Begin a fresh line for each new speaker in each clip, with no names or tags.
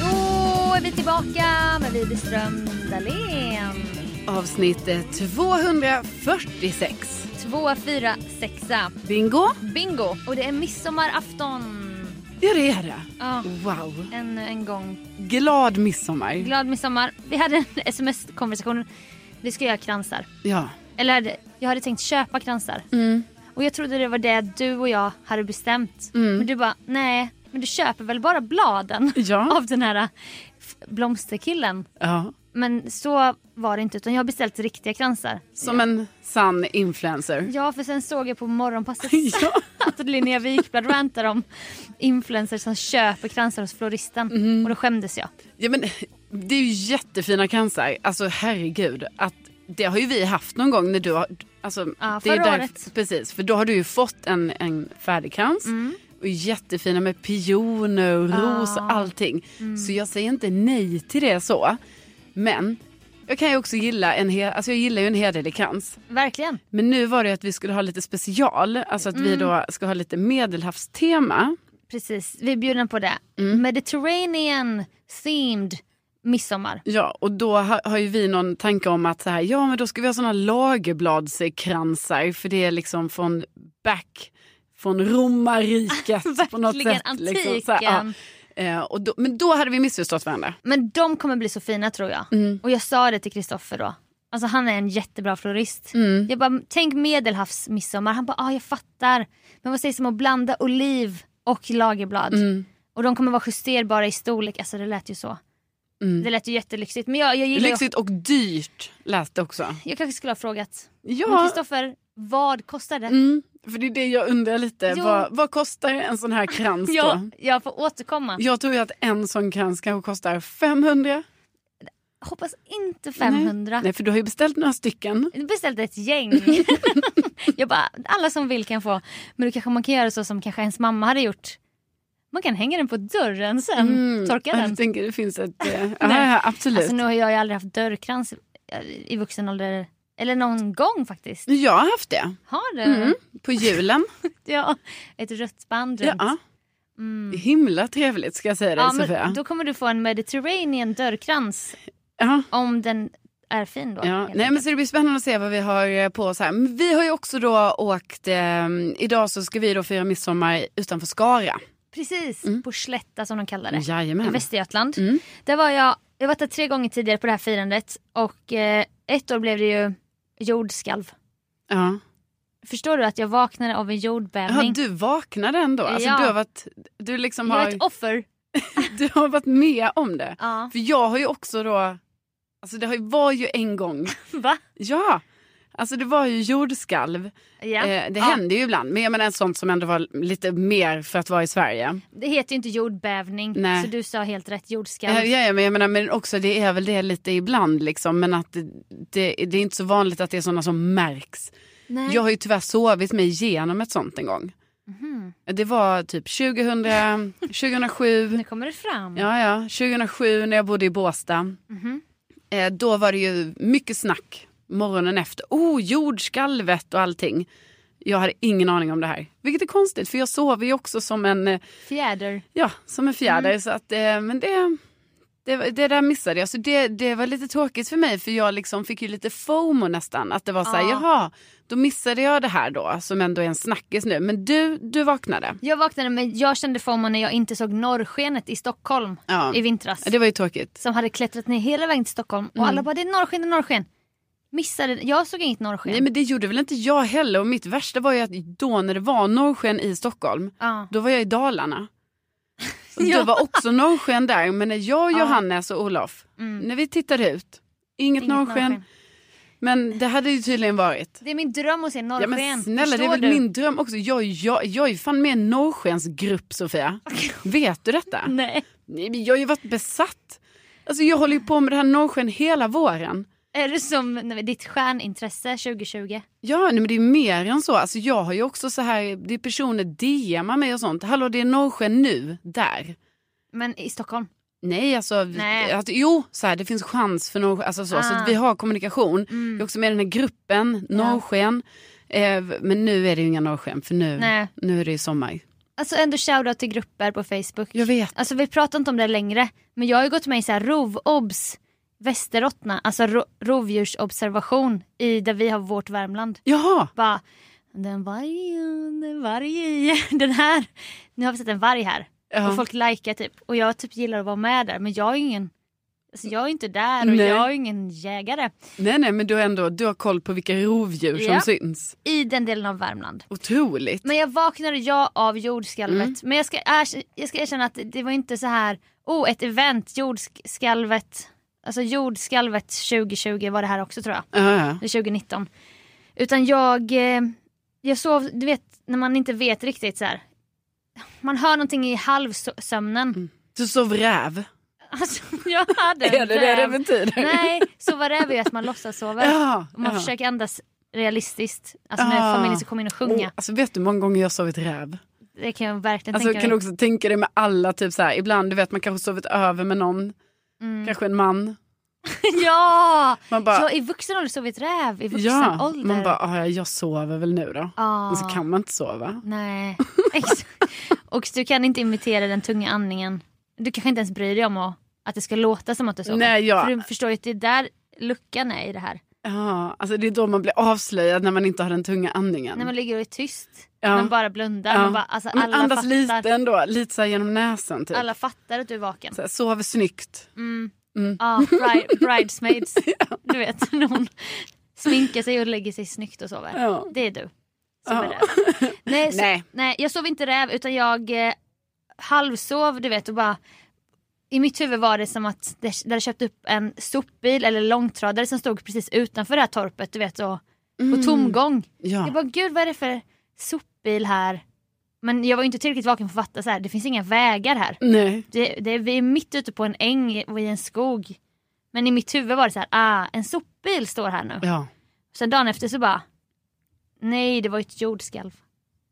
Då är vi tillbaka med Widerström Dahlén.
Avsnitt 246.
2, 4, 6.
Bingo.
Bingo! Och det är midsommarafton.
Ja, det är det.
Ja,
Wow.
ännu en gång.
Glad midsommar.
Glad midsommar. Vi hade en sms-konversation. Vi ska göra kransar.
Ja.
Eller hade- jag hade tänkt köpa kransar.
Mm.
Och jag trodde det var det du och jag hade bestämt.
Mm.
Men du bara, nej, men du köper väl bara bladen
Ja.
av den här äh, f- blomsterkillen.
ja.
Men så var det inte utan jag har beställt riktiga kransar.
Som en sann influencer.
Ja för sen såg jag på morgonpasset
Ja.
att Linnea Wikblad rantar om influencers som köper kransar hos floristen.
Mhm.
Och då skämdes jag.
Ja, men, det är ju jättefina kransar. Alltså herregud. Att, det har ju vi haft någon gång när du har... Alltså,
Ja,
det är ju
förra
där-
året.
Precis, för då har du ju fått en, en färdig krans.
Mm.
Och jättefina med pioner och ros och allting.
Mm.
Så jag säger inte nej till det så. Men jag kan ju också gilla en, he- alltså, jag gillar ju en hederlig krans.
Verkligen.
Men nu var det att vi skulle ha lite special. Alltså att vi
Mm.
då ska ha lite medelhavstema.
Precis, vi är bjudna på det.
Mm.
Mediterranean themed midsommar.
Ja, och då har, har ju vi någon tanke om att så här, ja men då ska vi ha såna lagerbladskransar för det är liksom från back, från romarriket på något
Verkligen,
sätt. Liksom, så här, ja.
antiken.
Eh, och då, men då hade vi missförstått varandra.
Men de kommer bli så fina tror
Mm.
jag. Och jag sa det till Kristoffer då. Alltså han är en jättebra florist.
Mm.
Jag bara, tänk medelhavsmidsommar. Han bara, ah, jag fattar. Men vad sägs om att blanda oliv och lagerblad?
Mm.
Och de kommer vara justerbara i storlek. Alltså det lät ju så. Det lät ju jättelyxigt. Men jag, jag gillar ju-
Mm. Lyxigt och dyrt lät det också.
Jag kanske skulle ha frågat. Men
Ja,
Kristoffer, vad kostar det?
mm, för det är det jag undrar lite.
Jo.
Vad, vad kostar en sån här krans då?
Jag, jag får återkomma.
Jag tror ju att en sån krans kanske kostar 500.
Hoppas inte 500.
Nej, nej för du har ju beställt några stycken.
Jag beställde ett gäng. jag bara, alla som vill kan få. Men då kanske man kan göra så som kanske ens mamma hade gjort. Man kan hänga den på dörren sen. Torka
Mm. Ja,
Mm. den.
Jag tänker det finns ett... eh, ja, ja, absolut.
Alltså nu har jag ju aldrig haft dörrkrans i- i vuxen ålder. Eller någon gång faktiskt.
Jag har haft det.
Har du?
Mm. På julen.
Ja, ett rött band runt. Mm.
ja. Himla trevligt ska jag säga dig
Ja,
Sofia.
men då kommer du få en Mediterranean dörrkrans
Ja.
om den är fin då.
Ja.
helt
Nej, men
enkelt.
så det blir spännande att se vad vi har eh, på oss här. Men vi har ju också då åkt, eh, idag så ska vi då fira midsommar utanför Skara.
Precis,
Mm.
på Slätta som de kallar det. i
Jajamän.
Västergötland.
Mm.
Där var jag, jag har varit där tre gånger tidigare på det här firandet och eh, ett år blev det ju jordskalv.
Ja.
Förstår du att jag vaknade av en
Ja,
jordbävning?
du vaknade ändå. Alltså,
Ja.
du, har varit, du, liksom
Jag är
har,
ett offer.
du har varit med om det.
Ja.
För jag har ju också då, alltså det har ju- var ju en gång
Va?
Ja, Alltså det var ju jordskalv.
Ja.
Eh, det
Ja.
hände ju ibland. Men jag menar sånt som ändå var lite mer för att vara i Sverige.
Det heter ju inte jordbävning,
Nej.
så du sa helt rätt. Jordskalv.
Eh, Ja, ja, ja, men jag menar men också det är väl det lite ibland liksom. Men att det, det, det är inte så vanligt att det är sådana som märks.
Nej.
Jag har ju tyvärr sovit mig igenom ett sånt en gång.
Mhm.
Det var typ 2000, 2007.
Nu kommer det fram.
Ja, ja. 2007 när jag bodde i Båstad. Eh, då var det ju mycket snack morgonen efter. Oh, jordskalvet och allting. Jag hade ingen aning om det här. Vilket är konstigt för jag sover ju också som en, eh,
Fjäder.
ja, som en fjäder. Så att, eh, men det, det, var- det där missade jag. Så det, det var lite tråkigt för mig för jag liksom fick ju lite fomo nästan. Att det var så här,
Ja.
jaha, då missade jag det här då som ändå är en snackis nu. Men du, du vaknade.
Jag vaknade men jag kände FOMO när jag inte såg norrskenet i Stockholm
Ja.
i vintras.
Det var ju tråkigt.
Som hade klättrat ner hela vägen till Stockholm och
Mm.
alla bara det är norrsken, det är norrsken. Missade, jag såg inget norrsken.
Nej men det gjorde väl inte jag heller och mitt värsta var ju att då när det var norrsken i Stockholm,
ja.
då var jag i Dalarna. Och
Ja.
Det var också norrsken där men när jag, Johannes och Olof, när vi tittade ut, inget,
Mm. Inget
norrsken,
norrsken.
Men det hade ju tydligen varit.
Det är min dröm att se
Ja,
norrsken.
men snälla det
Förstår
är väl
du?
min dröm också. Jag, jag, jag är ju fan med i en norrskensgrupp Sofia. Vet du detta?
Nej.
Nej, men Jag har ju varit besatt. Alltså jag håller ju på med det här norrsken hela våren.
Är det som nej, ditt stjärnintresse 2020?
Ja, nej, men det är mer än så. Alltså, jag har ju också så här, det är personer DMar mig och sånt. Hallå, det är norrsken nu, där.
Men i Stockholm?
Nej, alltså,
Nej.
Att, jo, så här, det finns chans för norrsken. Alltså, så, så
Ah. Mm.
att vi har kommunikation. Jag är också med i den här gruppen, norrsken. Eh, men nu är det ju inga norrsken, för nu,
Nej.
nu är det ju sommar.
Alltså ändå shoutout till grupper på Facebook.
Jag vet.
Alltså vi pratar inte om det längre. Men jag har ju gått med i så här rovobs, västerrottna, alltså ro- rovdjursobservation i där vi har vårt Värmland.
Jaha,
Bara, den vargen, den vargen, den här. Nu har vi sett en varg här.
Ja.
Och folk likar typ. Och jag typ gillar att vara med där men jag är ingen, alltså jag är inte där och
Nej.
jag är ingen jägare.
nej nej men du har ändå du har koll på vilka rovdjur
Ja.
som syns.
I den delen av Värmland.
Otroligt.
Men jag vaknade ja av jordskalvet.
Mm.
Men jag ska, erk- jag ska erkänna att det var inte så här, oh ett event, jordskalvet. Alltså jordskalvet 2020 var det här också tror jag.
Ja, ja.
Eller 2019. Utan jag, eh, jag sov, du vet när man inte vet riktigt så här. Man hör någonting i halvsömnen.
Du sov räv.
Alltså jag hade en
Är det det det
räv.
betyder?
Nej, sova räv är ju att man låtsas sova.
Ja,
Och man
ja. Ah.
försöker andas realistiskt. Alltså när
Ja.
familjen ska komma in och sjunga.
Åh, alltså, vet du hur många gånger jag har sovit räv?
Det kan jag verkligen
Alltså,
tänka
kan du
mig.
också tänka dig med alla, typ så här, ibland du vet man kanske sovit över med någon,
Mm.
kanske en man.
Ja!
Man bara,
jag i vuxen ålder sovit räv, i vuxen
ja,
ålder.
man bara, "Ah, ja, jag sover väl nu då.
Ah.
Och så kan man inte sova.
Nej. Ex- och du kan inte imitera den tunga andningen. Du kanske inte ens bryr dig om att, att det ska låta som att du sover.
Nej, jag-
För du förstår ju att det är där luckan är i det här.
Ja, alltså det är då man blir avslöjad när man inte har den tunga andningen.
När man ligger och är tyst.
Ja.
Man bara blundar.
Ja.
Man bara, alltså,
Men
alla,
andas
fattar,
lite ändå, lite så här genom näsan typ.
alla Mm. fattar att du är vaken.
Så här, sover snyggt.
Ja, bride, bridesmaids. Du vet, när hon sminkar sig och lägger sig snyggt och sover.
Ja.
Det är du som är
Ja.
räv. Nej, så, nej.
Nej.
jag sov inte räv utan jag eh, halvsov du vet och bara i mitt huvud var det som att det, det hade köpt upp en sopbil eller långtradare som stod precis utanför det här torpet du vet och på tomgång.
Mm. Ja.
Jag bara gud vad är det för sopbil här? Men jag var ju inte tillräckligt vaken för att fatta så här, det finns inga vägar här.
Nej.
Det, det, vi är mitt ute på en äng och i en skog. Men i mitt huvud var det så här, ah, en sopbil står här nu.
Ja.
Sen dagen efter så bara, nej det var ju ett jordskalv.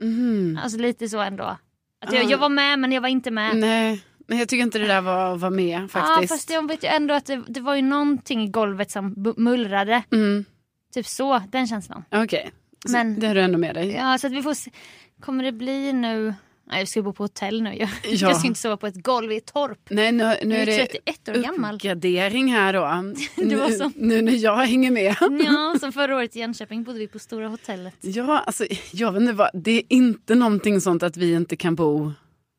Mhm.
Alltså lite så ändå. Att jag, jag var med men jag var inte med.
Ah. Nej. Nej, jag tycker inte det där var att vara med
Ja
faktiskt.
fast jag vet ju ändå att det, det var ju någonting i golvet som bu- mullrade.
Mm.
Typ så, den känslan.
Okej, Så
Men-
det har du ändå med dig.
Ja så att vi får se. Kommer det bli nu, nej vi ska ju bo på hotell nu ju.
Ja.
Jag ska inte sova på ett golv i ett torp.
Nej, nu, nu
Du är
är det
31 år gammal.
uppgradering här då.
Du var Mm.
nu,
som-
nu när jag hänger med.
Ja, som förra året i Jönköping bodde vi på Stora hotellet.
Ja, alltså, jag vet inte vad, det är inte någonting sånt att vi inte kan bo.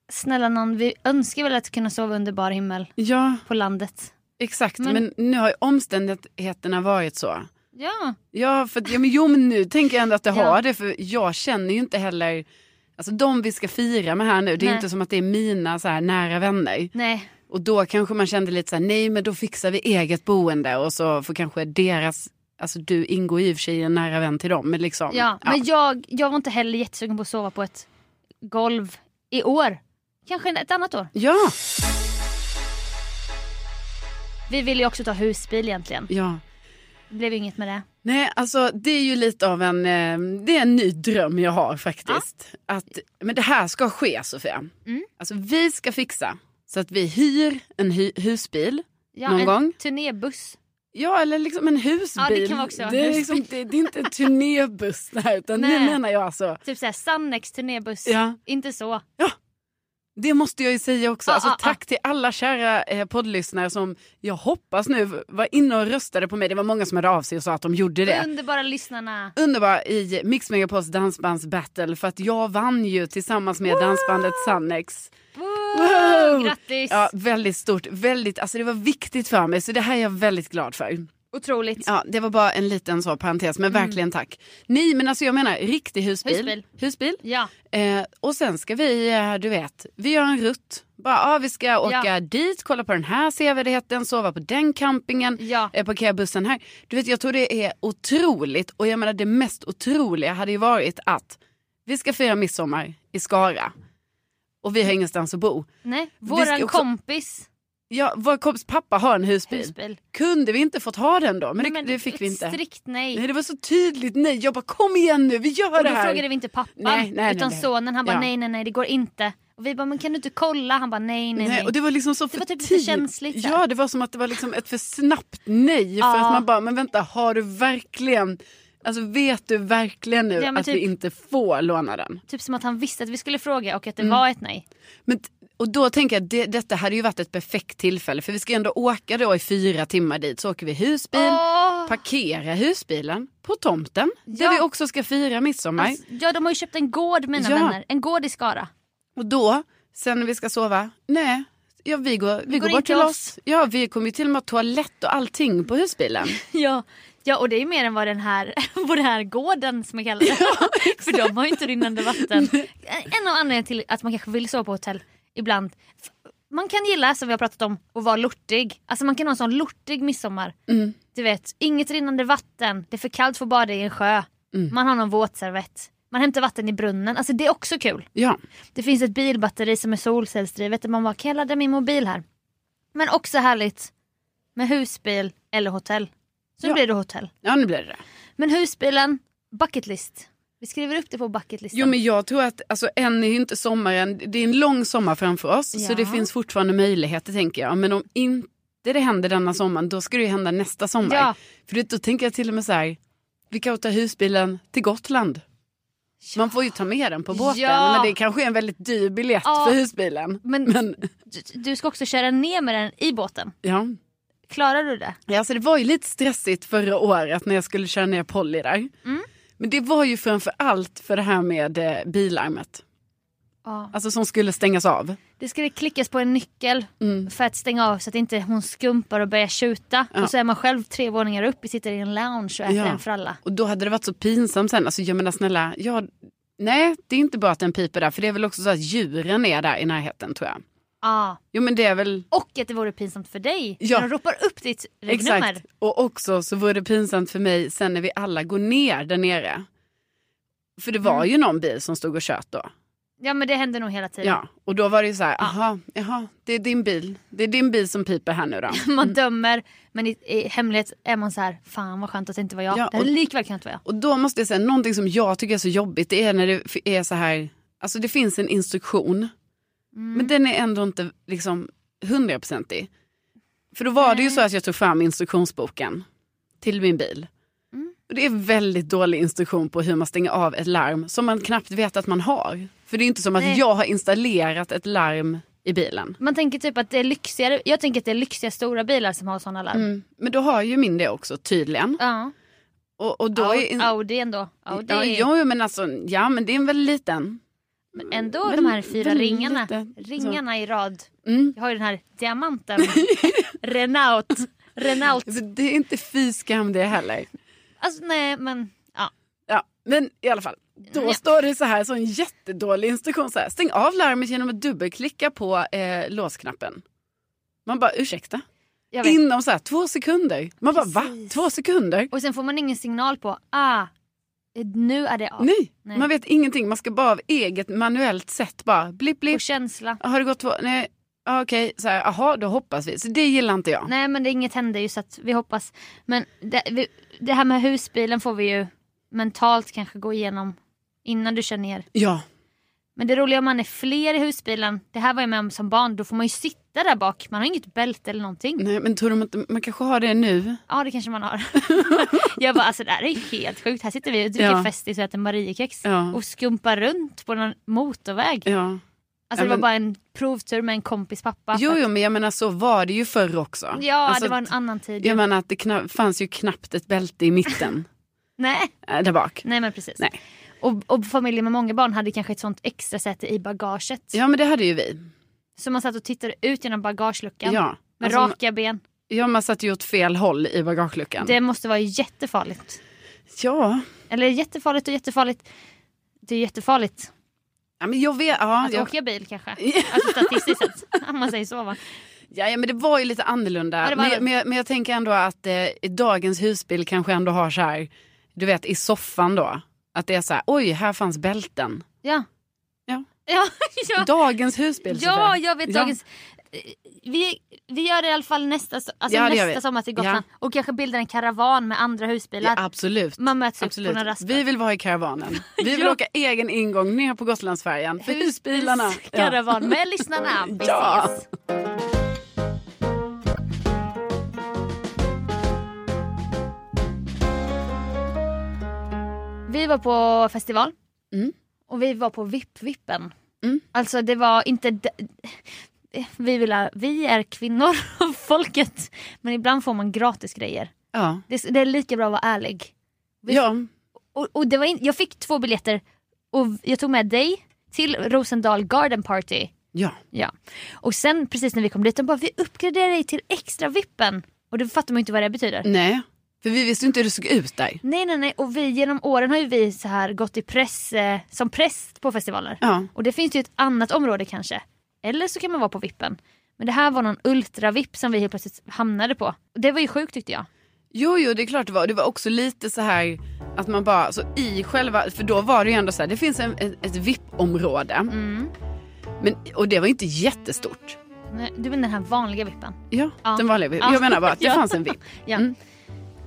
Snälla någon, vi önskar väl att kunna sova under bar himmel
Ja,
på landet.
exakt.
Men-
Men, nu har ju omständigheterna varit så.
Ja,
Ja, för, att- ja men jo, men nu tänker jag ändå att det
Ja.
har det. För jag känner ju inte heller, alltså de vi ska fira med här nu, det är
Nej.
inte som att det är mina så här nära vänner.
nej.
Och då kanske man kände lite så här, nej men då fixar vi eget boende och så får kanske deras alltså du ingår i och för sig i en nära vän till dem. Men liksom,
Ja, men jag, jag var inte heller jättesugen på att sova på ett golv i år. Kanske ett annat år.
ja.
Vi ville ju också ta husbil egentligen.
ja.
Det blev ju inget med det.
Nej, alltså det är ju lite av en, eh, det är en ny dröm jag har faktiskt. Att, men det här ska ske Sofia.
Mm.
Alltså vi ska fixa så att vi hyr en hy- husbil.
Ja,
Någon
en
gång?
turnébuss.
Ja, eller liksom en husbil.
Ja, det kan vara också.
Det är, liksom, det, det är inte en turnébuss det här, utan nu
Nej.
menar jag alltså.
Typ såhär Sannex turnébuss.
Ja.
Inte så.
Det måste jag ju säga också.
Ja,
alltså,
ja, ja.
tack till alla kära eh, poddlyssnare som jag hoppas nu var inne och röstade på mig. Det var många som hörde av sig och sa att de gjorde det.
Underbara lyssnarna.
Underbar i Mix Megapols dansbandsbattle för att jag vann ju tillsammans med dansbandet Sannex.
Wow! Grattis!
Ja, väldigt stort, väldigt, alltså det var viktigt för mig så det här är jag väldigt glad för.
Otroligt.
Ja, det var bara en liten så parentes men verkligen tack. Nej men alltså jag menar riktig husbil.
Husbil.
husbil.
Ja.
Eh, och sen ska vi, eh, du vet, vi gör en rutt. Bara, ah, vi ska åka dit, kolla på den här sevärdheten, sova på den campingen,
Ja.
eh, parkera bussen här. Du vet, jag tror det är otroligt. Och jag menar det mest otroliga hade ju varit att vi ska fira midsommar i Skara. Och vi har ingenstans att bo.
Nej.
ska
Våran
också-
kompis
Ja, vår kompis pappa har en husbil.
husbil.
Kunde vi inte fått ha den då? Men,
Nej, men
det, det fick vi
ett
inte.
Strikt nej.
Nej, det var så tydligt nej. Jag bara kom igen nu, vi gör
Och
det
då
här.
frågade vi inte pappan
Nej, nej,
utan
nej, nej.
sonen. Han bara
Ja.
nej nej nej det går inte. Och vi bara men kan du inte kolla? Han bara nej nej nej.
Nej, och det var liksom så
Det
för
var typ lite
tidigt.
känsligt så här.
Ja, det var som att det var liksom ett för snabbt nej. För
Ja.
att man bara, men vänta, har du verkligen, alltså vet du verkligen nu
Ja, men
att vi
typ-
inte får låna den?
Typ som att han visste att vi skulle fråga och att
Mm.
det var ett nej.
Men, t- och då tänker jag, det, detta hade ju varit ett perfekt tillfälle för vi ska ändå åka då i fyra timmar dit. Så åker vi husbil,
Åh!
parkera husbilen på tomten
Ja.
där vi också ska fira midsommar.
Alltså, ja de har ju köpt en gård mina
Ja.
vänner. En gård i Skara.
Och då, sen när vi ska sova, nej, ja, vi går, vi går
in
bort
till
till oss.
oss.
Ja, vi kommer ju till och med ha toalett och allting på husbilen.
Ja. ja och det är mer än vad den här, vad den här gården som jag kallar det. För de har ju inte rinnande vatten. En av anledningarna till att man kanske vill sova på hotell ibland. F- Man kan gilla som vi har pratat om att vara lortig. Alltså man kan ha en sån lortig midsommar. Du vet, inget rinnande vatten, det är för kallt för att bada i en sjö. Man har någon våtservett. Man hämtar vatten i brunnen. Alltså det är också kul.
Ja.
Det finns ett bilbatteri som är solcellsdrivet där man bara kan jag ladda min mobil här. Men också härligt med husbil eller hotell. Så nu
Ja.
blir det hotell.
Ja, nu blir det det.
Men husbilen, bucketlist. Vi skriver upp det på bucketlistan.
Jo, men jag tror att alltså, än är ju inte sommaren, det är en lång sommar framför oss, så
Ja.
det finns fortfarande möjligheter tänker jag. Men om inte det händer denna sommaren, då ska det ju hända nästa sommar.
Ja.
För du vet, då tänker jag till och med så här, vi kan ta husbilen till Gotland. Man får ju ta med den på båten,
Ja.
men det kanske är en väldigt dyr biljett
Ja.
för husbilen.
Men-
men
Du, du ska också köra ner med den i båten.
ja.
Klarar du det?
Ja, Alltså det var ju lite stressigt förra året när jag skulle köra ner Polly där.
Mm.
Men det var ju framför allt för det här med eh, bilarmet.
Ja.
Alltså som skulle stängas av.
Det skulle klickas på en nyckel för att stänga av så att inte hon skumpar och börjar tjuta.
Ja.
Och så är man själv tre våningar upp, sitter i en lounge och äter
Ja.
en fralla.
Och då hade det varit så pinsamt sen. Alltså jag menar snälla, ja, nej det är inte bara att den piper där. För det är väl också så att djuren är där i närheten tror jag.
Ja.
Jo men det är väl,
Och att det vore pinsamt för dig
Ja.
när de ropar upp ditt regnummer.
exakt. Och också så vore det pinsamt för mig sen när vi alla går ner där nere. För det var ju någon bil som stod och tjöt då.
Ja men Mm. det händer nog hela tiden.
Ja, och då var det ju så här, aha, jaha, det är din bil. Det är din bil som piper här nu då.
Man dömer men i, i hemlighet är man så här, fan vad skönt att det inte var jag.
Ja,
det hade
och-
likväl kunnat vara jag.
Och då måste jag säga, någonting som jag tycker är så jobbigt det är när det f- är så här, alltså det finns en instruktion.
Mm.
Men den är ändå inte liksom hundraprocentig. För då var det ju så att jag tog fram instruktionsboken till min bil.
Mm.
Och det är väldigt dålig instruktion på hur man stänger av ett larm som man knappt vet att man har. För det är inte som att
Nej.
jag har installerat ett larm i bilen.
Man tänker typ att det är lyxigare, jag tänker att det är lyxiga stora bilar som har sådana
Mm.
larm.
Men då har ju min det också tydligen.
Mm. Ja.
Och, och då är...
Au- Audi ändå. Audi.
ja, jo, men alltså, ja men det är en väldigt liten.
men ändå
väl-
de här fyra
väl
ringarna.
lite så.
Ringarna i rad.
Mm.
Jag har ju den här diamanten. Renault. Renault.
Alltså, det är inte fy skam det heller.
Alltså nej men ja.
Ja, men i alla fall. Då
Ja.
står det så här, så en jättedålig instruktion. Så här, Stäng av larmet genom att dubbelklicka på eh, låsknappen. Man bara, ursäkta?
Jag vet.
Inom så här, två sekunder. Man bara va?
Precis.
Två sekunder?
Och sen får man ingen signal på, ah, nu är det av.
Nej.
Nej.
man vet ingenting. Man ska bara av eget manuellt sätt bara blipp blipp.
Och känsla.
Har det gått två? Nej. Ja, Okej, så här, aha, då hoppas vi. Så det gillar inte jag.
Nej men det, inget händer ju så att vi hoppas. Men det, vi, det här med husbilen får vi ju mentalt kanske gå igenom innan du känner ner.
Ja,
Men det roliga om man är fler i husbilen, det här var jag med om som barn, då får man ju sitta där bak. Man har inget bälte eller någonting.
nej, men tror de att man kanske har det nu?
Ja det kanske man har. jag bara alltså det här är ju helt sjukt. Här sitter vi och dricker
Ja.
Festis och äter Mariekex
Ja.
och skumpar runt på någon motorväg.
Ja.
Alltså
Ja,
det var
men-
bara en provtur med en kompis pappa.
Jo,
För-
jo, men jag menar så var det ju förr också.
Ja
Alltså,
det var en annan tid. ju.
Jag menar att det kna- fanns ju knappt ett bälte i mitten
Nej.
äh, där bak.
Nej men precis.
Nej.
Och, och familjer med många barn hade kanske ett sånt extra säte i bagaget.
Ja, men det hade ju vi.
Så man satt och tittade ut genom bagageluckan
Ja.
med
Alltså,
raka ben.
Ja, man satt ju åt fel håll i bagageluckan.
Det måste vara jättefarligt.
Ja.
Eller jättefarligt och jättefarligt. Det är jättefarligt
ja, men jag vet. Ja,
att
jag,
åka bil kanske. Alltså statistiskt sett. Om man säger så va.
ja, ja, men det var ju lite annorlunda.
Ja, det var
men, jag-
annorlunda.
men, jag, men jag tänker ändå att eh, i dagens husbil kanske ändå har så här, du vet i soffan då. Att det är så här, oj, här fanns bälten.
Ja.
Ja.
Ja, ja.
Dagens husbil.
Ja,
Sofia.
jag vet dagens. Vi, vi gör det i alla fall nästa, alltså
Ja, det gör
nästa
vi.
sommar till Gotland. Och kanske bildar en karavan med andra husbilar.
Ja, absolut.
Man möts upp på
absolut.
några raster.
Vi vill vara i karavanen. Vi vill
Ja.
åka egen ingång ner på Gotlandsfärjan. För husbilarna.
Karavan med lyssnarna. Vi
Ja.
ses. Vi var på festival.
Mm.
Och vi var på VIP-vippen.
Mm.
Alltså det var inte... d- Vi, vill ha, vi är kvinnor av folket. Men ibland får man gratis grejer.
Ja.
Det, är- det är lika bra att vara ärlig.
Ja. ja.
Och, och det var in, jag fick två biljetter och jag tog med dig till Rosendal Garden Party.
ja.
Ja. Och sen precis när vi kom dit, de bara vi uppgraderar dig till extra vippen. Och då fattar man ju inte vad det betyder.
Nej. För vi visste ju inte hur det såg ut där.
Nej nej nej och vi genom åren har ju vi så här gått i press eh, som präst på festivaler.
Ja.
Och det finns ju ett annat område kanske. Eller så kan man vara på vippen. Men det här var någon ultra-vipp som vi helt plötsligt hamnade på. Och det var ju sjukt tyckte jag.
Jo, jo, det är klart det var. Det var också lite så här att man bara, så i själva, för då var det ju ändå så här, det finns en, ett, ett VIP-område. Mm. Men, och det var inte jättestort.
Nej, Du menar den här vanliga vippen?
Ja,
Ja.
den vanliga VIP.
Ja.
Jag menar bara att det
Ja.
fanns en VIP.
Ja.
Mm.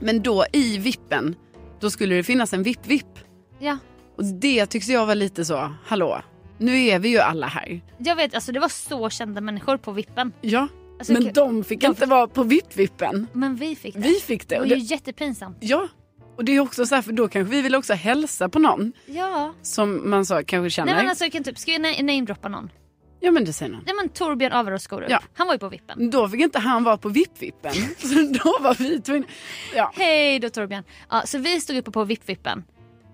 Men då i VIPen, då skulle det finnas en VIP-VIP.
ja.
Och det tycks jag var lite så, hallå, nu är vi ju alla här.
Jag vet, alltså det var så kända människor på vippen.
Ja,
Alltså,
men
okej.
de fick inte vara på VIP-VIPen.
Men vi fick det.
Vi fick det.
det
Och
var ju
det
jättepinsamt.
ja, och det är också så här, för då kanske vi vill också hälsa på någon
Ja.
som man så kanske känner.
Nej men alltså jag kan typ, ska jag na- namedroppa någon?
Ja men det säger någon.
Nej men Torbjörn Averås Skorup,
Ja.
han var ju på vippen.
Då fick inte han vara på VIP-vippen. Så då var vi tvungna. Ja.
Hej då Torbjörn. Ja, så vi stod uppe på vipp-vippen.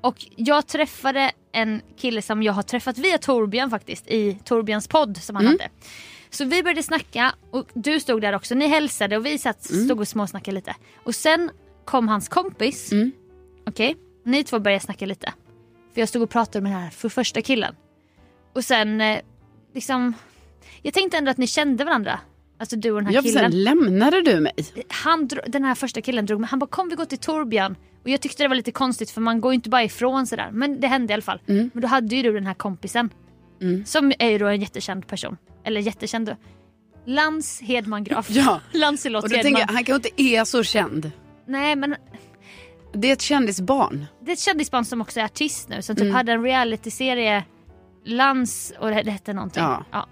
Och jag träffade en kille som jag har träffat via Torbjörn faktiskt i Torbjörns podd som han
Mm.
hade. Så vi började snacka och du stod där också, ni hälsade och vi satt,
Mm.
stod och småsnackade lite. Och sen kom hans kompis,
Mm.
okej, ni två började snacka lite. För jag stod och pratade med den här för första killen. Och sen eh, liksom, jag tänkte ändå att ni kände varandra. Alltså du och den här
Ja, för
killen
sen lämnade du mig.
han, dro- den här första killen drog mig, han bara kom vi går till Torbjörn. Och jag tyckte det var lite konstigt för man går ju inte bara ifrån sådär. Men det hände i alla fall.
Mm.
Men då hade ju du den här kompisen. Som är ju då en jättekänd person. Eller jättekänd. då. Lans Hedman Graf.
Ja.
Lancelot
Och då
Hedman.
tänker jag, han kanske inte är så känd.
Nej men
Det är ett kändisbarn.
det är ett kändisband som också är artist nu.
Mm.
Som typ hade en realityserie. Lans och det, det hette någonting.
Ja.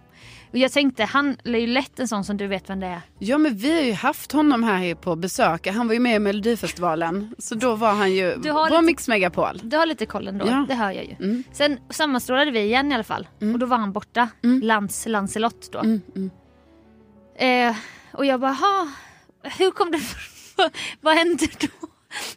Och jag tänkte han är ju lätt en sån som du vet vem det är.
Ja men vi har ju haft honom här på besök. Han var ju med i Melodifestivalen. Så då var han ju
Du har
på
lite-
Mix Megapol. Mm.
Du har lite koll ändå,
Ja.
det hör jag ju. Sen sammanstrålade vi igen i alla fall och då var han borta, Lans, Lancelot
Mm.
då. Eh, och jag bara, "Ha, hur kom det Vad hände då?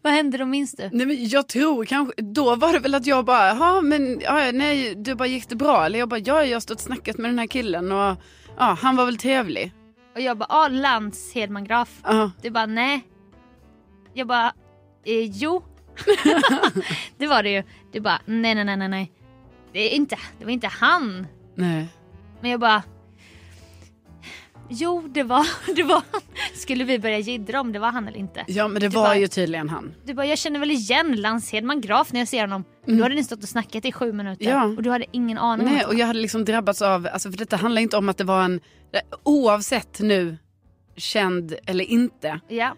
Vad hände då minns du?
Nej men jag tror kanske, då var det väl att jag bara, ja men ja, nej du bara gick det bra? Eller jag bara, ja jag har stått och snackat med den här killen och ja han var väl trevlig.
Och jag bara, ah Lans Hedman Graf.
Ja.
Du bara, nej. Jag bara, eh, jo. det var det ju. Du bara, nej nej nej nej nej. Det, är inte, det var inte han.
Nej.
Men jag bara... Jo det var, det var han. Skulle vi börja jiddra om det var han eller inte?
Ja men det
Du
var
bara-
ju tydligen han.
Du bara jag känner väl igen Lans Hedman Graf när jag ser honom. Men Då hade ni stått och snackat i sju minuter
Mm. Ja.
och du hade ingen aning om
Nej,
att-
och jag hade liksom drabbats av, alltså för detta handlar inte om att det var en, oavsett nu känd eller inte,
Ja.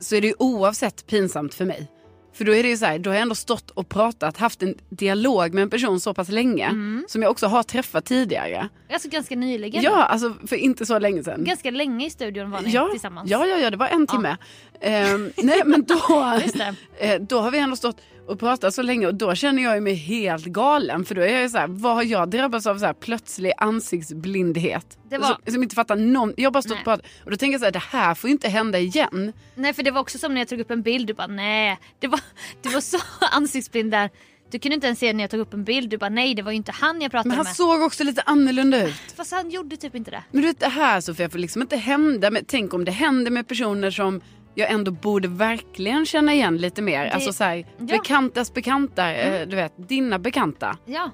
så är det ju oavsett pinsamt för mig. För då är det ju så här, då har jag ändå stått och pratat, haft en dialog med en person så pass länge, som jag också har träffat tidigare.
Alltså ganska nyligen.
Ja, alltså för Mm. inte så länge sedan.
Ganska länge i studion var ni
Ja,
tillsammans.
ja, ja, ja, det var en timme. Ehm, nej, men då,
Just det.
eh, då har vi ändå stått och pratat så länge och då känner jag ju mig helt galen. För då är jag ju så här, vad har jag drabbats av så här plötslig ansiktsblindhet?
Det var-
Som, som inte fattar någon. Jag har bara stått
Nej.
och pratat och då tänker jag så här, det här får ju inte hända igen.
Nej för det var också som när jag tog upp en bild, du bara nej. Det var, du var så ansiktsblind där. Du kunde inte ens se när jag tog upp en bild, du bara nej det var ju inte han jag pratade
Men han
med.
såg också lite annorlunda ut.
Fast han gjorde typ inte det.
Men du vet, det här Sofia får liksom inte hända. Men tänk om det händer med personer som jag ändå borde verkligen känna igen lite mer. Alltså så här,
ja. Mm.
bekantas bekanta, eh, du vet, dina bekanta.
Ja.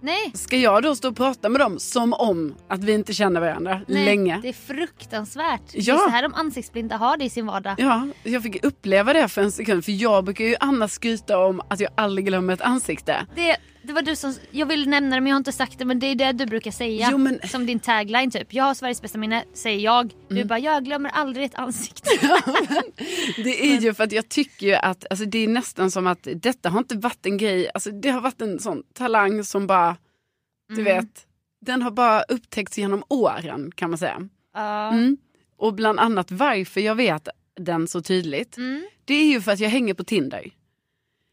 Nej.
Ska jag då stå och prata med dem som om att vi inte känner varandra
nej.
länge?
Det är fruktansvärt. Det
Ja.
är så här de ansiktsblinda har det i sin vardag.
Ja, jag fick uppleva det för en sekund. För jag brukar ju annars skryta om att jag aldrig glömmer ett ansikte.
Det, det var du som, jag vill nämna det men jag har inte sagt det men det är det du brukar säga.
Jo, men- Mm.
Som din tagline typ. Jag har Sveriges bästa minne, säger jag. Du bara jag glömmer aldrig ett ansikte.
Det är ju för att jag tycker ju att alltså, det är nästan som att detta har inte varit en grej. Alltså, det har varit en sån talang som bara, du
Mm.
vet, den har bara upptäckts genom åren kan man säga.
Ja.
Mm. Och bland annat varför jag vet den så tydligt.
Mm.
Det är ju för att jag hänger på Tinder.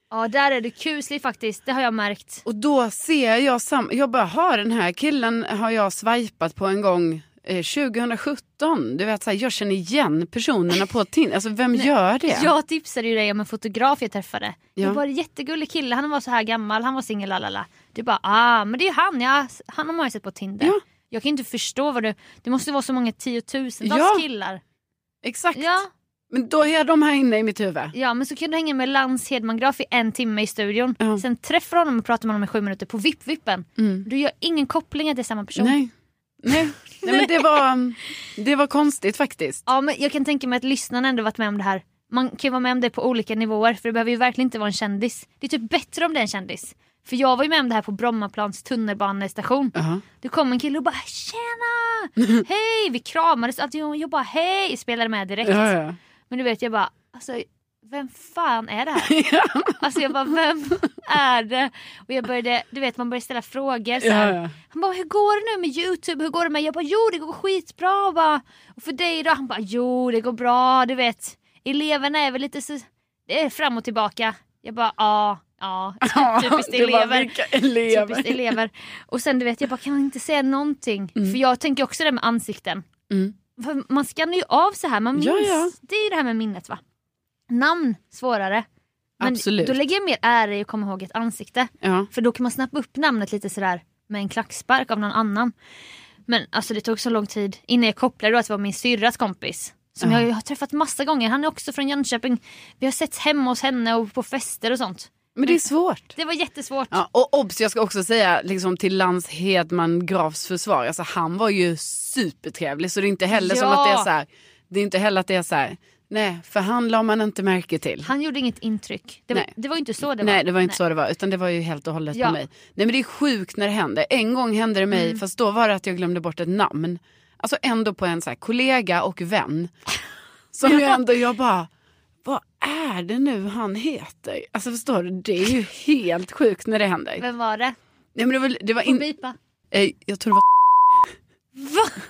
Ja där är du kuslig faktiskt, det har jag märkt.
Och då ser jag samma, jag bara, har den här killen har jag swipat på en gång eh, 2017. Du vet, så här, jag känner igen personerna på Tinder. Alltså vem gör det?
Jag tipsade ju dig om en fotograf jag träffade.
Ja.
Det var en jättegullig kille, han var så här gammal, han var singel, lalala. Du bara ah men det är ju han, ja. han har man ju sett på Tinder.
Ja.
Jag kan inte förstå vad du, det måste vara så många tiotusentals
Ja.
killar.
Exakt.
Ja,
Men då är de här inne i mitt huvud.
ja men så kan du hänga med Lans Hedman Graf i en timme i studion.
Ja.
Sen träffar du honom och pratar med honom i sju minuter på VIP-vippen.
Mm.
Du gör ingen koppling att det är samma person.
Nej. Nej. Nej men det var, det var konstigt faktiskt.
Ja men jag kan tänka mig att lyssnarna ändå varit med om det här. Man kan ju vara med om det på olika nivåer för det behöver ju verkligen inte vara en kändis. Det är typ bättre om det är en kändis. För jag var ju med om det här på Brommaplans tunnelbanestation.
Ja.
Det kom en kille och bara “tjena, hej”, vi kramades och allt. Jag jag bara “hej” spelade med direkt.
Ja, ja.
Men du vet jag bara, alltså vem fan är det här? Alltså jag bara, vem är det? Och jag började, du vet man började ställa frågor så här.
Ja, ja.
Han bara, hur går det nu med Youtube? Hur går det med? Jag bara, jo det går skitbra och bara. Och för dig då? Han bara, jo det går bra, du vet. Eleverna är väl lite så, det är fram och tillbaka. Jag bara, ja, ja. Typiskt
det var
elever.
vilka elever.
Typiskt elever. Och sen du vet, jag bara kan man inte säga någonting? För jag tänker också det med ansikten.
Mm.
För man skannar ju av så här, man minns.
Ja, ja.
Det är ju det här med minnet va? Namn, svårare. Men
Absolut.
då lägger jag mer ära i att komma ihåg ett ansikte.
e- Ja.
För då kan man snappa upp namnet lite sådär med en klackspark av någon annan. Men alltså det tog så lång tid innan jag kopplade då att det var min syrras kompis. Som jag har träffat massa gånger. Han är också från Jönköping. Vi har sett hemma hos henne och på fester och sånt.
Men det är svårt.
Det var jättesvårt.
Ja, och obs, jag ska också säga liksom, till Lans Hedman Grafs försvar, alltså, han var ju supertrevlig så det är inte heller som
Ja.
att det är så här, det är inte heller att det är så här, nej för han la man inte märke till.
Han gjorde inget intryck. Det var,
Nej.
det var ju inte så det var.
Nej det var inte så det var utan det var ju helt och hållet
Ja. Mm.
på mig. Nej men det är sjukt när det händer. En gång hände det mig fast då var det att jag glömde bort ett namn. Alltså ändå på en så här, kollega och vän. Som jag ändå, jag bara, vad är det nu han heter? Alltså förstår du, det är ju helt sjukt när det händer.
Vem var det?
Nej, men det var, det var
Får
in,
bipa.
Eh, jag tror det var
Va?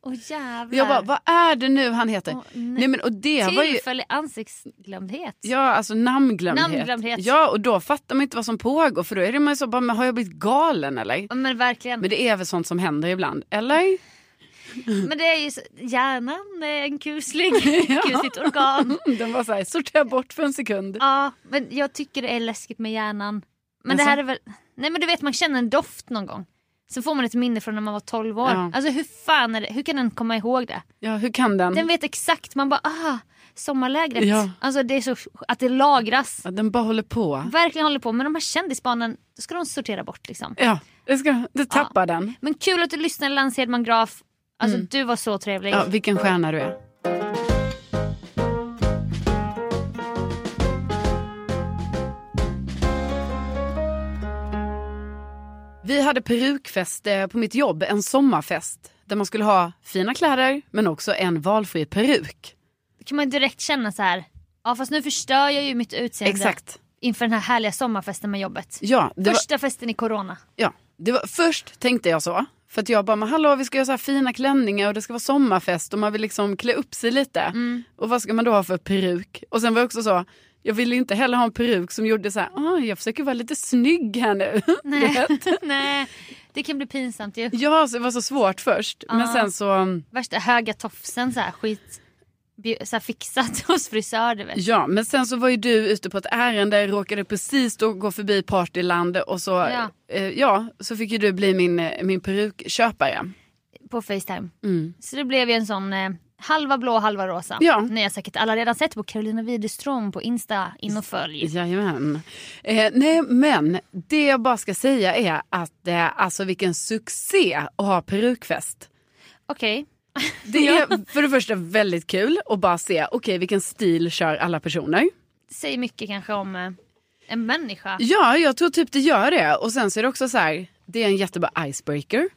Åh jävlar.
Jag bara, vad är det nu han heter?
Åh,
nej.
nej.
men och det var ju...
Tillfällig ansiktsglömdhet.
Ja, alltså namnglömdhet.
Namnglömdhet.
Ja, och då fattar man inte vad som pågår för då är det man ju så bara, men har jag blivit galen eller?
Ja, Men verkligen.
Men
Men
det är väl sånt som händer ibland, eller?
det, är ju så, hjärnan är en kusling. Ett Kusligt organ.
Mm, Den var så här, sortera bort för en sekund.
Ja, men jag tycker det är läskigt med hjärnan. Men det
Jaså?
här är väl... Nej men du vet man känner en doft någon gång. Sen får man ett minne från när man var 12 år.
Ja.
Alltså hur fan är det? Hur kan den komma ihåg det?
Ja, hur kan den?
Den vet exakt, man bara ah, sommarlägret.
Mm. Ja.
Alltså det är så att det lagras.
Ja, den bara håller på.
verkligen håller på med de här kändisbarnen, då ska de sortera bort liksom.
Ja, det, ska, det tappar den.
Men kul att du lyssnar Lans Hedman Graf. Alltså du var så trevlig.
Mm. Ja, vilken stjärna du är. Vi hade perukfest eh, på mitt jobb, en sommarfest. Där man skulle ha fina kläder men också en valfri peruk.
Då kan man direkt känna så här. ja fast nu förstör jag ju mitt utseende
Exakt.
inför den här härliga sommarfesten med jobbet.
Ja, det var,
Första festen i corona.
ja, det var, först tänkte jag så. För att jag bara, men hallå vi ska göra så här fina klänningar och det ska vara sommarfest och man vill liksom klä upp sig lite.
Mm.
Och vad ska man då ha för peruk? Och sen var jag också så, jag ville inte heller ha en peruk som gjorde så här, "Ah, jag försöker vara lite snygg här nu.
Nej. Nej, det kan bli pinsamt ju.
ja, så det var så svårt först. Men
Ah.
sen så,
Värsta höga tofsen så här skit, bju- så här fixat hos frisör du vet.
ja, men sen så var ju du ute på ett ärende, råkade precis då gå förbi Partyland och så,
Ja.
Eh, ja, så fick ju du bli min, eh, min perukköpare.
På Facetime. Så det blev ju en sån eh, halva blå halva rosa.
Mm. Ja.
Ni har säkert alla redan sett på Carolina Widerström på Insta, in och följ.
Jajamän. Eh, nej, men det jag bara ska säga är att eh, alltså vilken succé att ha perukfest.
Okej,
Det är för det första väldigt kul att bara se, okej vilken stil kör alla personer.
säg mycket kanske om eh, en människa.
Ja, jag tror typ det gör det. Och sen så är det också så här, det är en jättebra icebreaker.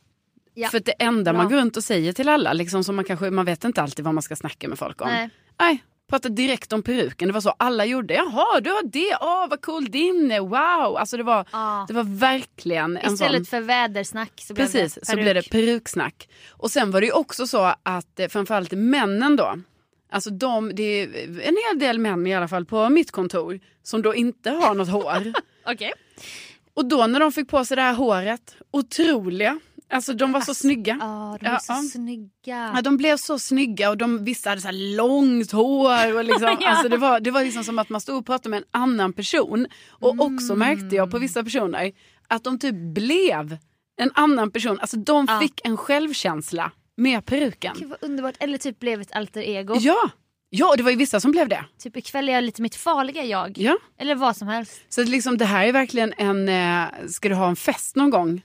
Ja.
För att det enda man
Bra.
går runt och säger till alla, liksom, som man, kanske, man vet inte alltid vad man ska snacka med folk om.
Nej.
Nej, prata direkt om peruken. Det var så alla gjorde. Jaha, du har det. Åh, vad cool din är. Wow. Alltså det var,
Ja.
det var verkligen en sån...
Istället för vädersnack så blev
Precis,
det
så blev det peruksnack. Och sen var det ju också så att eh, framförallt männen då, alltså de, det är en hel del män i alla fall på mitt kontor som då inte har något hår.
Okej.
Och då när de fick på sig det här håret, otroliga, alltså de var så snygga.
Ja, Ah, de är så
Ja, ja.
snygga.
Ja, de blev så snygga och de vissa hade så här långt hår. Och liksom,
Ja.
alltså det, var, det var liksom som att man stod och pratade med en annan person. Och
Mm.
också märkte jag på vissa personer att de typ blev en annan person. Alltså de
Ja.
fick en självkänsla med peruken.
Gud vad underbart. Eller typ blev ett alter ego.
Ja, ja och det var ju vissa som blev det.
Typ ikväll är jag lite mitt farliga jag.
Ja.
Eller vad som helst.
Så att liksom, det här är verkligen en, eh, ska du ha en fest någon gång?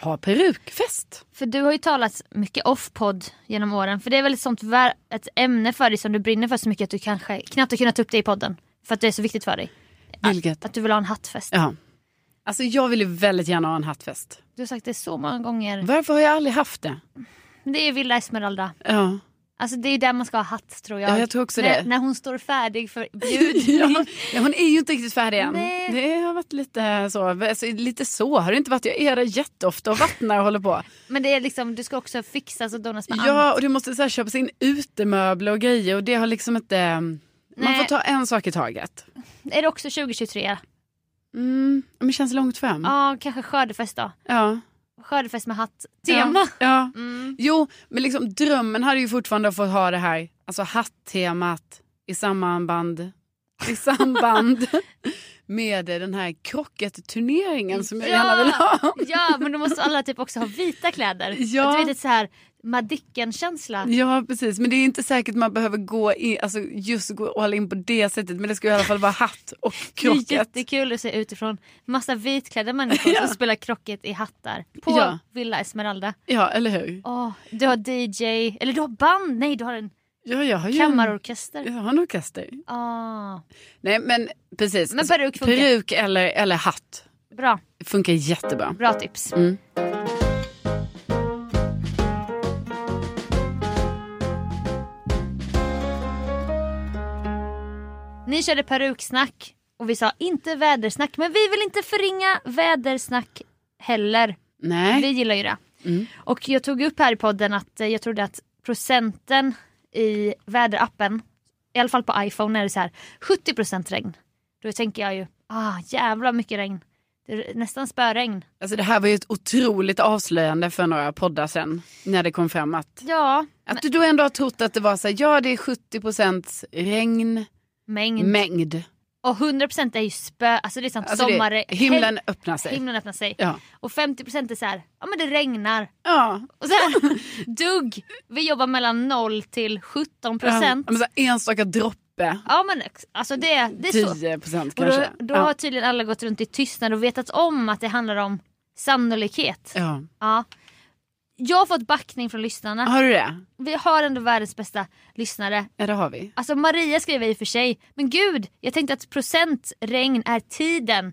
Ha perukfest.
För du har ju talat mycket off-podd genom åren. För det är väl ett sånt vär- ett ämne för dig som du brinner för så mycket att du kanske knappt har kunnat ta upp det i podden. För att det är så viktigt för dig.
Vilket?
Att du vill ha en hattfest.
Ja. Alltså jag vill ju väldigt gärna ha en hattfest.
Du har sagt det så många gånger.
Varför har jag aldrig haft det?
Men Det är Villa Esmeralda.
Ja.
Alltså det är där man ska ha hatt tror jag.
Ja, jag tror också
när,
det.
När hon står färdig för
ja,
bjudning.
ja, hon är ju inte riktigt färdig än.
Nej.
Det har varit lite så. Alltså, lite så har det inte varit. Jag är där jätteofta och vattnar och håller på.
Men det är liksom, du ska också fixas och donas med
Ja, och du måste så här, köpa in utemöbler och grejer och det har liksom inte... Man
Nej.
får ta en sak i taget.
annat. Är det också 2023?
Mm, men det känns långt fram.
Ja, kanske skördefest då.
Ja.
Skördefest med hatt-tema.
Ja. ja.
Mm.
Jo, men liksom drömmen hade ju fortfarande fått ha det här alltså hatt-temat i samband, i samband med den här krocketturneringen som jag gärna vill ha.
ja, men då måste alla typ också ha vita kläder.
Ja.
Att Du vet, ett så här Madicken-känsla.
Ja precis, men det är inte säkert man behöver gå in, alltså just gå all in på det sättet men det ska i alla fall vara hatt och
Det är
krocket.
jättekul att se utifrån massa vitklädda människor som spelar krocket i hattar på
Ja.
Villa Esmeralda.
Ja eller hur?
Åh, du har DJ, eller du har band, nej du har en
Ja, jag har ju
kammarorkester.
jag har en orkester.
Ah,
Nej men precis,
Men peruk funkar.
peruk eller, eller hatt
bra,
funkar jättebra.
bra tips. Ni körde peruksnack och vi sa inte vädersnack men vi vill inte förringa vädersnack heller.
Nej,
Vi gillar ju det. Och jag tog upp här i podden att eh, jag trodde att procenten i väderappen, i alla fall på iPhone är det så här 70% regn. Då tänker jag ju, ah jävla mycket regn. Det är nästan spöregn.
alltså det här var ju ett otroligt avslöjande för några poddar sen när det kom fram att,
Ja,
att du då ändå har trott att det var så här, ja det är 70% regn,
mängd.
mängd.
och 100% är ju spö, alltså det är sånt
Alltså det-
sommar...
himlen öppnar sig.
Himlen öppnar sig.
Ja.
Och 50% är så här, ja men det regnar.
Ja,
Och sen dugg, vi jobbar mellan 0 till 17 procent.
Ja, men så här, enstaka droppe.
Ja men ex- alltså det, det är så.
10 procent
Och då,
kanske.
då
ja.
har tydligen alla gått runt i tystnad och vetat om att det handlar om sannolikhet.
Ja.
Ja. Jag har fått backning från lyssnarna.
Har du det?
Vi har ändå världens bästa lyssnare.
Ja det har vi.
Alltså Maria skriver i och för sig, men gud, jag tänkte att procentregn är tiden.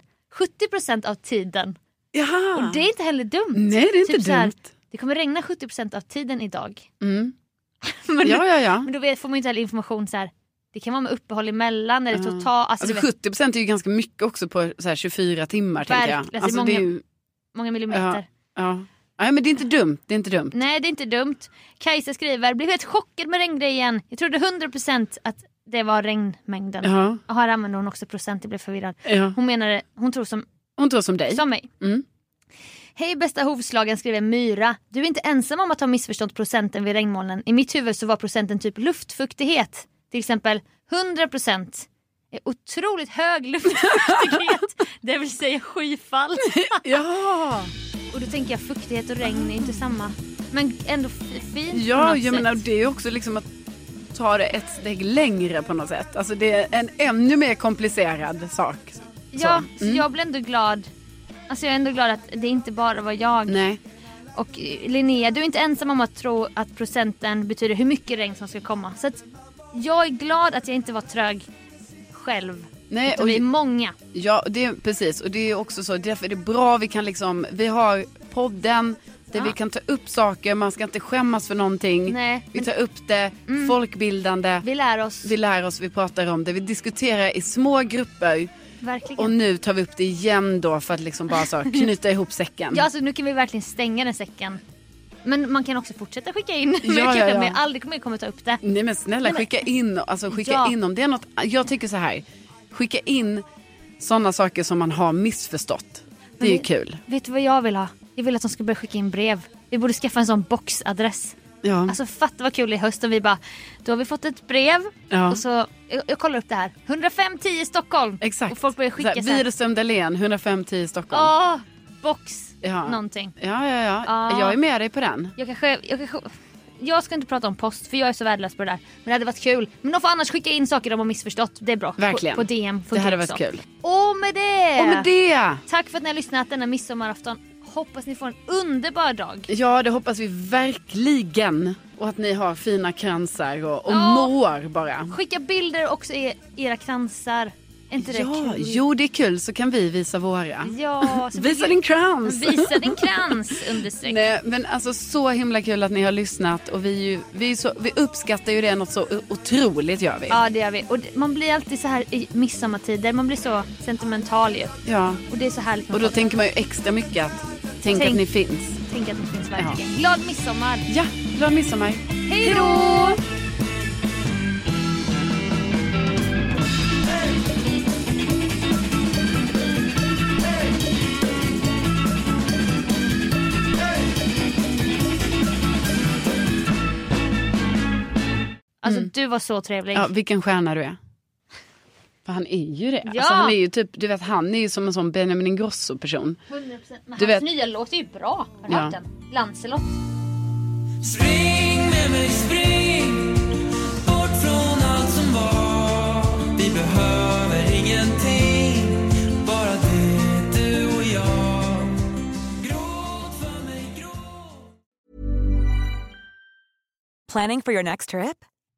70% av tiden.
Jaha.
Och det är inte heller dumt.
Ah.
Typ
Nej det är inte
så här,
dumt.
det kommer regna 70% av tiden idag.
Mm.
men,
Ja ja ja.
men då vet, får man ju inte heller information så här. det kan vara med uppehåll emellan eller
Ja.
totalt. Alltså,
Alltså
du vet,
70 procent är ju ganska mycket också på så här 24 timmar. tänker jag.
Verkligen, det är
Alltså, det är
många-
ju,
många millimeter.
ja. Nej, men det är inte dumt. Det är inte dumt.
Nej det är inte dumt. Kajsa skriver, blev helt chockad med regngrejen. Jag trodde 100% att det var regnmängden.
Ja,
Ja, Här använder hon också procent, jag blev förvirrad.
ja.
Hon menade, hon tror som,
Hon tror som dig.
som mig.
Mm.
Hej bästa hovslagen skriver Myra. Du är inte ensam om att ha missförstått procenten vid regnmolnen. I mitt huvud så var procenten typ luftfuktighet. Till exempel 100% är otroligt hög luftfuktighet. det vill säga skyfall.
Ja,
och då tänker jag fuktighet och regn är inte samma. Men ändå f- fint på
ja
något
jag menar
sätt.
det är ju också liksom att ta det ett steg längre på något sätt. Alltså det är en ännu mer komplicerad sak.
Ja,
Så. Mm.
så jag blir ändå glad. Alltså jag är ändå glad att det inte bara var jag.
Nej.
Och eh, Linnea, du är inte ensam om att tro att procenten betyder hur mycket regn som ska komma. Så att jag är glad att jag inte var trög själv.
Nej,
Utan
och-
vi är många.
Ja, det är, precis. Och det är också så, därför är det bra vi kan liksom, vi har podden där
Ja.
vi kan ta upp saker, man ska inte skämmas för någonting.
Nej,
vi
men- Mm.
tar upp det, folkbildande,
Vi lär oss.
vi lär oss, vi pratar om det, vi diskuterar i små grupper.
Verkligen.
Och nu tar vi upp det igen då för att liksom bara så knyta ihop säcken.
Ja, alltså, nu kan vi verkligen stänga den säcken. Men man kan också fortsätta skicka in. Men jag
Ja,
kanske
ja, ja.
men jag aldrig kommer, kommer ta upp det.
Nej men snälla skicka in, alltså skicka
Ja.
in om det är något, jag tycker så här, skicka in sådana saker som man har missförstått. Det är ju
det-
kul.
Vet du vad jag vill ha? Jag vill att de ska börja skicka in brev. Vi borde skaffa en sån boxadress.
Ja.
Alltså fatta vad kul i höst om vi bara, då har vi fått ett brev
Ja.
och så, jag, jag kollar upp det här, 10510 Stockholm.
Exakt.
Och folk börjar skicka så här,
Widerström Dahlén, 105-10 i Stockholm.
åh, box
Ja.
någonting.
Ja, ja, ja.
Ja.
Jag är med dig på den.
Jag kanske, jag kanske, jag ska inte prata om post för jag är så värdelös på det där. Men det hade varit kul. Men de får annars skicka in saker de har missförstått, det är bra.
Verkligen.
På, på DM
Det
funkar
hade varit
också.
kul.
Och med det!
Och med det!
Tack för att ni har lyssnat denna midsommarafton. Hoppas ni får en underbar dag.
Ja, det hoppas vi verkligen. Och att ni har fina kransar och, och
Ja.
mår bara.
Skicka bilder också i era kransar. Är inte det
Ja,
kul?
jo det är kul så kan vi visa våra.
Ja, så
Visa
tycker-
din krans!
Visa din krans understreck.
Nej, men alltså så himla kul att ni har lyssnat och vi, är ju, vi, är så, vi uppskattar ju det något så o- otroligt gör vi.
Ja det gör vi. Och det- man blir alltid så här i midsommartider, man blir så sentimental ju.
Ja.
Och det är så härligt
Och
med
då
folk.
tänker man ju extra mycket att tänk,
Tänk.
att ni finns.
Tänk att det finns verkligen. Glad midsommar!
Ja, glad midsommar.
Hej då! Alltså du var så trevlig.
Mm. Ja, vilken stjärna du är. För han är ju det.
Ja.
Alltså, han är ju typ, du vet han är ju som en sån Benjamin Ingrosso-person.
100%. Men
Du
hans
vet-
nya låt är ju bra. Har du
Ja.
hört den? Lancelot.
Spring med mig, spring Bort från allt som var Vi behöver ingenting Bara det, du och jag Gråt för mig, gråt
Planning for your next trip?